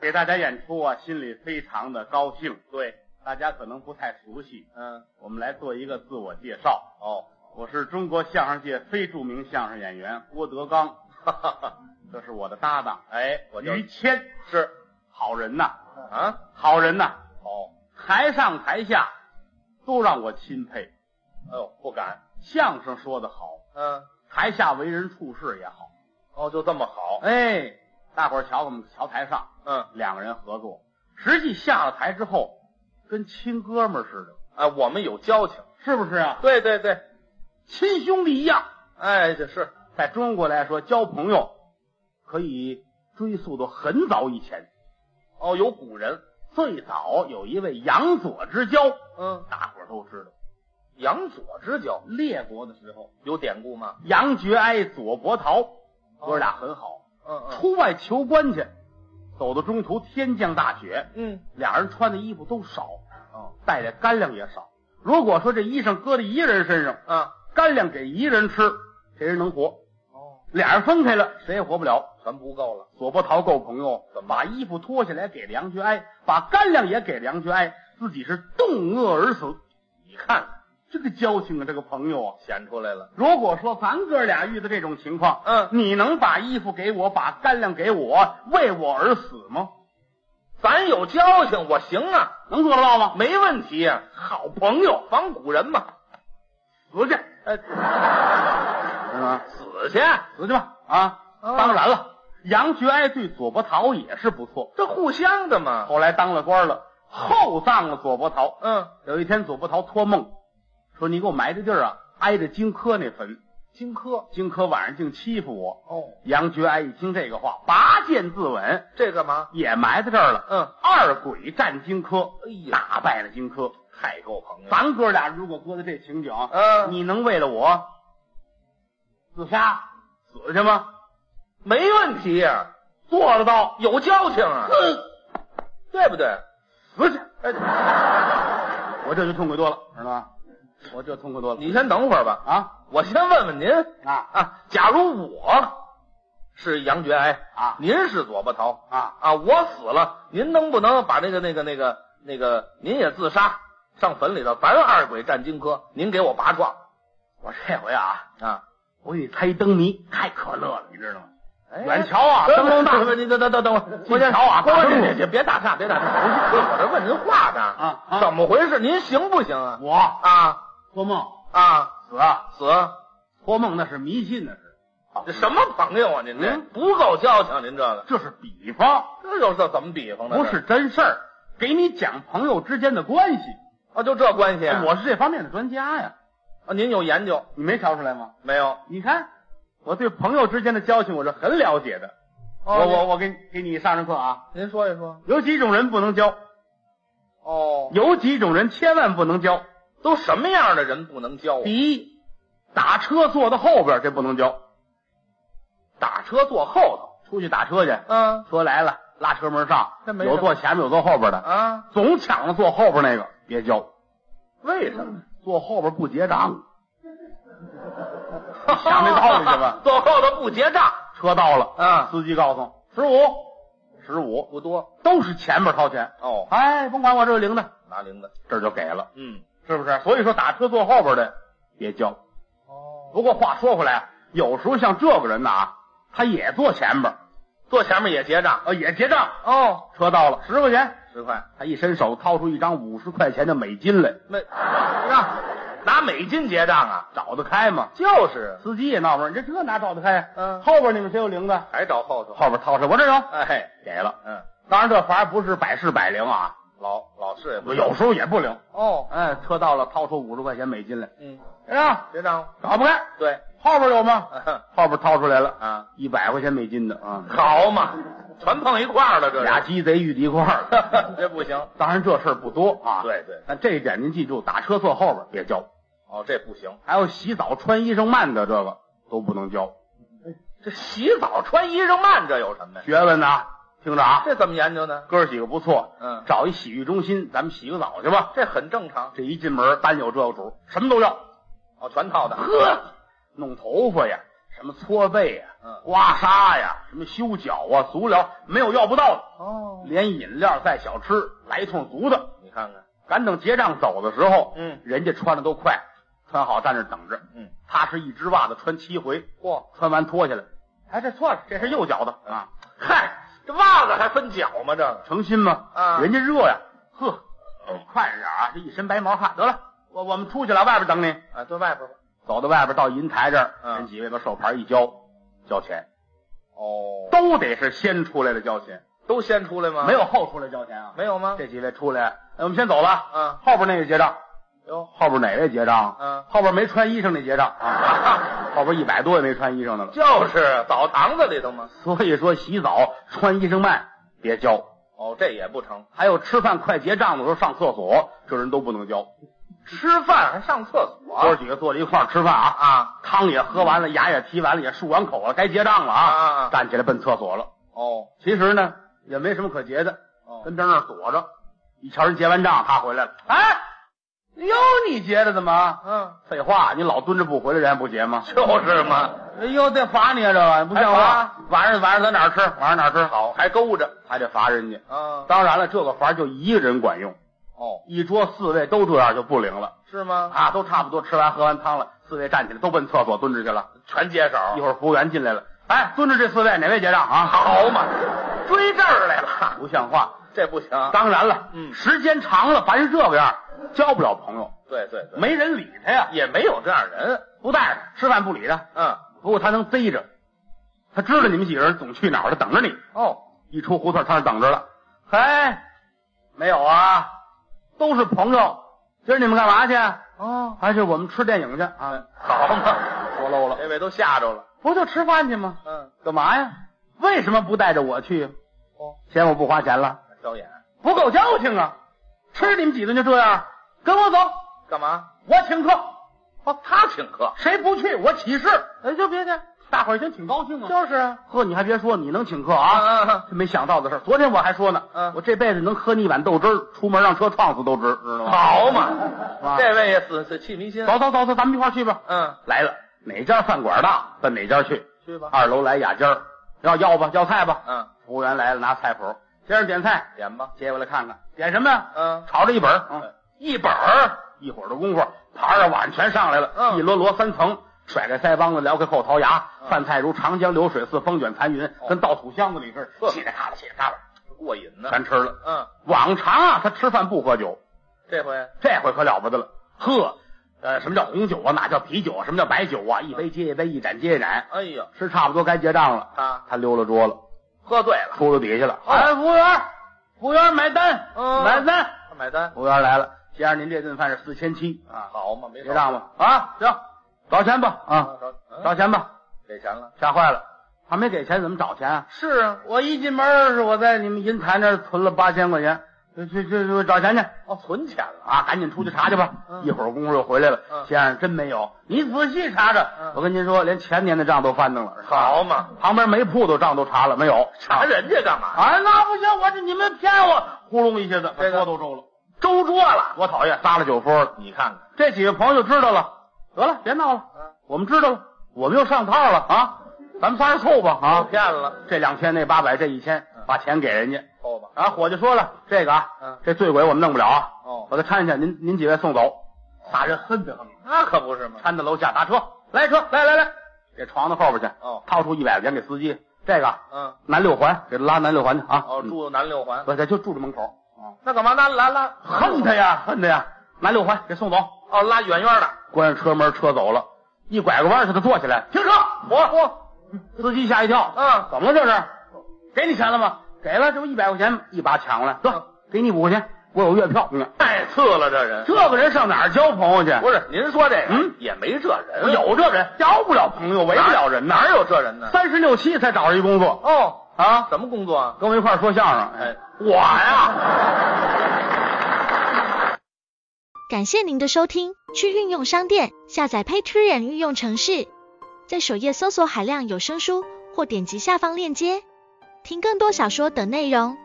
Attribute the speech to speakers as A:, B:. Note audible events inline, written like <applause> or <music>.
A: 给大家演出啊，心里非常的高兴。
B: 对，
A: 大家可能不太熟悉，
B: 嗯，
A: 我们来做一个自我介绍。
B: 哦，
A: 我是中国相声界非著名相声演员郭德纲，这是我的搭档
B: 哎，我就
A: 于谦，
B: 是
A: 好人呐，
B: 啊，
A: 好人呐，
B: 哦，
A: 台上台下都让我钦佩。
B: 哎呦，不敢，
A: 相声说得好，
B: 嗯，
A: 台下为人处事也好。
B: 哦，就这么好，
A: 哎，大伙儿瞧我们瞧台上
B: 嗯，
A: 两个人合作，实际下了台之后，跟亲哥们儿似的，
B: 哎，我们有交情，
A: 是不是啊？
B: 对对对，
A: 亲兄弟一样。
B: 哎，这是，
A: 在中国来说，交朋友可以追溯到很早以前。
B: 哦，有古人，
A: 最早有一位杨左之交，
B: 嗯，
A: 大伙儿都知道。
B: 杨左之交
A: 列国的时候，
B: 有典故吗？
A: 杨觉哀、左伯桃，哥俩很好，
B: 嗯嗯
A: 出外求官去，走到中途天降大雪，
B: 嗯，
A: 俩人穿的衣服都少，
B: 哦，
A: 带的干粮也少。如果说这衣裳搁在一人身上，
B: 啊，
A: 干粮给一人吃，这人能活；
B: 哦，
A: 俩人分开了，谁也活不了。
B: 全不够了，
A: 左伯桃够朋友，
B: 怎么
A: 把衣服脱下来给梁觉哀，把干粮也给梁觉哀，自己是冻饿而死。你看这个交情啊，这个朋友啊，
B: 显出来了，
A: 如果说咱哥俩遇到这种情况，
B: 嗯
A: 你能把衣服给我，把干粮给我，为我而死吗？
B: 咱有交情，我行啊，
A: 能做得到吗？
B: 没问题呀，
A: 啊好朋友，
B: 仿古人嘛，
A: 死去，
B: 哎，
A: 是吗？
B: 死去，
A: 死去吧！啊，
B: 啊
A: 当然了，杨觉哀对左伯桃也是不错，
B: 这互相的嘛，
A: 后来当了官了，厚葬了左伯桃。
B: 嗯，
A: 有一天，左伯桃托梦说：“你给我埋的地儿啊，挨着荆轲那坟，
B: 荆轲，
A: 荆轲晚上竟欺负我。
B: 哦”，
A: 杨觉哀一听这个话，拔剑自刎，
B: 这干嘛？
A: 也埋在这儿了。
B: 嗯，
A: 二鬼战荆轲，
B: 哎呀，
A: 打败了荆轲。
B: 太够朋友了，
A: 咱哥俩如果搁在这情景，
B: 嗯，
A: 你能为了我自杀死去吗？
B: 没问题呀，
A: 做得到，
B: 有交情啊，对不对？
A: 死去！
B: 哎，
A: 哎我这就痛快多了，知道吗？我这痛快多了。
B: 你先等会儿吧，
A: 啊
B: 我先问问您
A: 啊
B: 啊，假如我是杨觉哀，
A: 啊
B: 您是左伯桃
A: 啊！
B: 啊，我死了，您能不能把那个那个那个那个您也自杀上坟里头，咱二鬼战荆轲，您给我拔创
A: 我这回啊，
B: 啊？
A: 我给你猜灯谜，太可乐了，你知道吗？
B: 哎哎
A: 远瞧啊，
B: 等
A: 灯笼大
B: 等，你等等等 <laughs> 等，我先
A: 瞧啊
B: 不
A: 大
B: 不，
A: 灯笼
B: 别别别打岔，别打岔，我这问您话呢
A: 啊啊
B: 哎怎么回事？您行不行啊？
A: 我
B: 啊
A: 做梦
B: 啊，
A: 死啊，
B: 死！
A: 托梦那是迷信，那是
B: 这什么朋友啊？您这
A: 嗯
B: 不够交情，您这个
A: 这是比方，
B: 这又是怎么比方的？
A: 不是真事儿。给你讲朋友之间的关系，
B: 啊，就这关系啊，
A: 我是这方面的专家呀，
B: 啊，您有研究
A: 你没瞧出来吗？
B: 没有？
A: 你看，我对朋友之间的交情我是很了解的。
B: 哦
A: 我我我给你给你上上课啊，
B: 您说一说。
A: 有几种人不能交，
B: 哦，
A: 有几种人千万不能交。
B: 都什么样的人不能交啊？
A: 第一，打车坐到后边儿这不能交，
B: 打车坐后头。
A: 出去打车去，
B: 嗯
A: 车来了拉车门上
B: 这，没什么
A: 有坐前面有坐后边的，
B: 啊，
A: 总抢着坐后边那个别交，
B: 为什么？
A: 坐后边不结账。想这道理去
B: <laughs>
A: 吧
B: 坐后头不结账
A: <laughs> 车到了，
B: 啊，
A: 司机告诉我十五，十五
B: 不多
A: 都是前面掏钱，
B: 哦，
A: 哎，甭管我这有零的，
B: 拿零的。
A: 这儿就给了。
B: 嗯，
A: 是不是？所以说打车坐后边的别交。
B: 哦，
A: 不过话说回来啊，有时候像这个人呐啊，他也坐前边儿，
B: 坐前面也结账。
A: 呃，也结账。
B: 哦，
A: 车到了，十块钱，
B: 十块。哎
A: 他一伸手掏出一张五十块钱的美金来，
B: 那那拿美金结账啊？
A: 找得开吗？ <laughs>
B: 就是，
A: 司机也纳闷，你这这哪找得开呀、
B: 嗯
A: 后边你们谁有零的？
B: 还找后头。
A: 后边掏出来，我这有，
B: 哎，
A: 给了。
B: 嗯，
A: 当然，这法不是百试百灵啊，
B: 老老是也不
A: 有时候也不灵。
B: 哦，
A: 哎，车到了，掏出五十块钱美金来，
B: 嗯，
A: 哎呀，
B: 结账。
A: 找不开，
B: 对， <laughs>
A: 后边有吗？
B: 啊
A: 后边掏出来了，
B: 啊。
A: 一百块钱美金的啊。
B: 好嘛，全碰一块儿了，这是
A: 俩鸡贼遇敌一块儿了。
B: <laughs> 这不行。
A: 当然这事儿不多啊，，
B: 对对，
A: 但这一点您记住，打车坐后边别交，
B: 哦，这不行。
A: 还有洗澡穿衣裳慢的这个都不能交，
B: 这洗澡穿衣裳慢，这有什么呀？
A: 学问呐、听着啊，
B: 这怎么研究呢？
A: 哥儿几个不错，
B: 嗯，
A: 找一洗浴中心，咱们洗个澡去吧。
B: 这很正常。
A: 这一进门，单有这个主，什么都要，
B: 哦，全套的。
A: 呵，弄头发呀，什么搓背呀、
B: 嗯
A: 刮痧呀、什么修脚啊、足疗，没有要不到的，
B: 哦，
A: 连饮料带小吃来一通足的。
B: 你看看，
A: 赶等结账走的时候，
B: 嗯
A: 人家穿的都快，穿好站着等着。
B: 嗯，
A: 他是一只袜子穿七回，
B: 嚯，
A: 穿完脱下来，
B: 哎，这错了，
A: 这是右脚的啊，
B: 嗨，这袜子还分脚吗？这个
A: 诚心吗？
B: 啊
A: 人家热呀，呵，快点啊，这一身白毛汗，得了，我我们出去了，外边等你。
B: 啊，对外边吧。
A: 走到外边到银台这儿，
B: 嗯
A: 人几位把手牌一交，交钱
B: 哦，
A: 都得是先出来的交钱，
B: 都先出来吗？
A: 没有后出来交钱啊。
B: 没有吗？
A: 这几位出来，哎我们先走了，
B: 嗯
A: 后边那个结账，
B: 有，
A: 后边哪位结账？
B: 嗯
A: 后边没穿衣裳那结账 <laughs> 啊，后边一百多也没穿衣裳的了。
B: 就是澡堂子里头吗？
A: 所以说洗澡穿衣裳慢别交，
B: 哦，这也不成，
A: 还有吃饭快结账的时候上厕所，这人都不能交。
B: 吃饭还上厕所
A: 哥几个坐在一块儿吃饭啊，
B: 啊？
A: 汤也喝完了，牙也提完了，也漱完口了，该结账了
B: 啊啊
A: 啊
B: 啊！
A: 站起来奔厕所了。
B: 哦
A: 其实呢，也没什么可结的，
B: 哦，
A: 跟边那儿躲着。一瞧人结完账，他回来了，哎，哟，你结的怎么？
B: 嗯，
A: 废话，你老蹲着不回来，人还不结吗？
B: <laughs> 就是嘛，
A: 哎呦，得罚你啊，这个不像话
B: 还罚。
A: 晚上晚上咱哪儿吃？晚上哪儿吃好？
B: 还勾着
A: 还得罚人家。
B: 啊？
A: 当然了，这个罚就一个人管用，
B: 哦，
A: 一桌四位都这样就不灵了
B: 是吗？
A: 啊，都差不多吃完喝完汤了，四位站起来都奔厕所蹲着去了。
B: 全接手，
A: 一会儿服务员进来了，哎，蹲着这四位哪位结账啊？<laughs>
B: 好嘛，追这儿来了， <laughs>
A: 不像话。
B: 这不行。
A: 当然了，
B: 嗯
A: 时间长了，凡是这个样儿，交不了朋友，
B: 对对对，
A: 没人理他呀，
B: 也没有这样人。
A: 不带着吃饭不理他。
B: 嗯，
A: 不过他能逮着，他知道你们几个人总去哪儿，他等着你。
B: 哦，
A: 一出胡同，他那等着了。嘿，没有啊，都是朋友。今儿你们干嘛去？
B: 哦，
A: 还是我们吃电影去啊？
B: 好嘛，
A: 说漏了，
B: 这位都吓着了。
A: 不就吃饭去吗？
B: 嗯，
A: 干嘛呀？为什么不带着我去？
B: 哦，
A: 嫌我不花钱了？
B: 表演
A: 不够交情啊！吃你们几顿就这样，跟我走，
B: 干嘛？
A: 我请客。
B: 哦，他请客，
A: 谁不去我起誓。
B: 哎，就别去，
A: 大伙儿一听挺高兴啊。
B: 就是啊，
A: 呵，你还别说，你能请客啊？
B: 啊，
A: 这没想到的事儿。昨天我还说呢，
B: 嗯
A: 我这辈子能喝你一碗豆汁儿，出门让车撞死都值，知道吗？
B: 好
A: 哇
B: 嘛，这位也死死气迷心。啊
A: 走走走走，咱们一块儿去吧。
B: 嗯，
A: 来了，哪家饭馆大，奔哪家去。
B: 去吧。
A: 二楼来雅间儿，要要吧，要菜吧。
B: 嗯，
A: 服务员来了，拿菜谱，先生点菜，
B: 点吧。
A: 接过来看看，点什么呀？
B: 嗯，
A: 炒着一本儿，嗯
B: 嗯，
A: 一本儿，一会儿的功夫，盘儿啊碗全上来了，
B: 嗯
A: 一摞摞三层，甩开腮帮子，撩开后槽牙，
B: 嗯哦
A: 饭菜如长江流水似风卷残云，跟倒土箱子里似的，
B: 呵
A: 嘁里咔啦嘁里咔啦，
B: 过瘾呢。
A: 全吃了。
B: 嗯，
A: 往常啊，他吃饭不喝酒，
B: 这回
A: 这回可了不得了，呵，呃，什么叫红酒啊？哪叫啤酒啊？什么叫白酒啊？一杯接一杯，一盏接一盏，
B: 哎呦，
A: 吃差不多该结账了，
B: 他
A: 他溜了桌了，
B: 喝醉了，
A: 出了底下了。
B: 哦
A: 哎，服务员，服务员买单，
B: 嗯
A: 买单。
B: 他买单
A: 服务员来了，先生，您这顿饭是四千七啊，
B: 好嘛，没
A: 结账吧？啊，行，找钱吧，啊，
B: 少嗯
A: 找钱吧，
B: 给钱了。
A: 吓坏了，还没给钱怎么找钱啊？
B: 是啊，
A: 我一进门儿是我在你们银台那儿存了八千块钱，去去去去找钱去
B: 哦，存钱了。
A: 啊！赶紧出去查去吧，
B: 嗯
A: 一会儿功夫又回来了，
B: 嗯
A: 先生真没有，你仔细查查。
B: 嗯
A: 我跟您说，连前年的账都翻弄了，
B: 好嘛，
A: 旁边煤铺都账都查了，没有
B: 查人家干嘛？
A: 啊，那不行，我这你们骗我，糊弄一下子，把
B: 这个
A: 桌都周了，
B: 周桌了，
A: 多讨厌，撒了酒疯了。
B: 你看看，
A: 这几个朋友就知道了，得了，别闹了，
B: 嗯
A: 我们知道了，我们又上套了啊！咱们仨人凑吧啊！
B: 骗了，
A: 这两千那八百这一千，把钱给人家。
B: 够吧？
A: 啊，伙计说了，这个啊，
B: 嗯
A: 这醉鬼我们弄不了啊，
B: 哦
A: 把他搀下，您您几位送走。仨人恨得很，
B: 那可不是嘛。
A: 搀到楼下打车，来车，来来来，给床子后边去。
B: 哦
A: 掏出一百块钱给司机，这个啊
B: 嗯，
A: 南六环给他拉南六环去啊。
B: 哦，
A: 嗯，
B: 住南六环，哦
A: 不对，就住这门口。啊，
B: 那干嘛拉拉拉？
A: 恨他呀，恨他呀，南六环给送走。
B: 哦，拉远远的。
A: 关上车门，车走了，一拐个弯儿，他就坐起来，停车！
B: 嚯
A: 哦
B: 嚯，
A: 司机吓一跳，啊
B: 嗯
A: 怎么了这是？给你钱了吗？给了，这不一百块钱吗一把抢过来，
B: 嗯
A: 得给你五块钱，我有月票。嗯
B: 太次了，这人。哎
A: 这个人上哪儿交朋友去？
B: 不是，您说这个，
A: 嗯
B: 也没这人，
A: 有这人，交不了朋友，为不了人呐。
B: 哪有这人呢？
A: 三十六七才找着一工作
B: 哦，
A: 啊，
B: 什么工作啊？
A: 跟我一块儿说相声。
B: 哎，
A: 我 <laughs> 呀，
C: 感谢您的收听，去运用商店下载 Patreon 运用城市，在首页搜索海量有声书，或点击下方链接听更多小说等内容。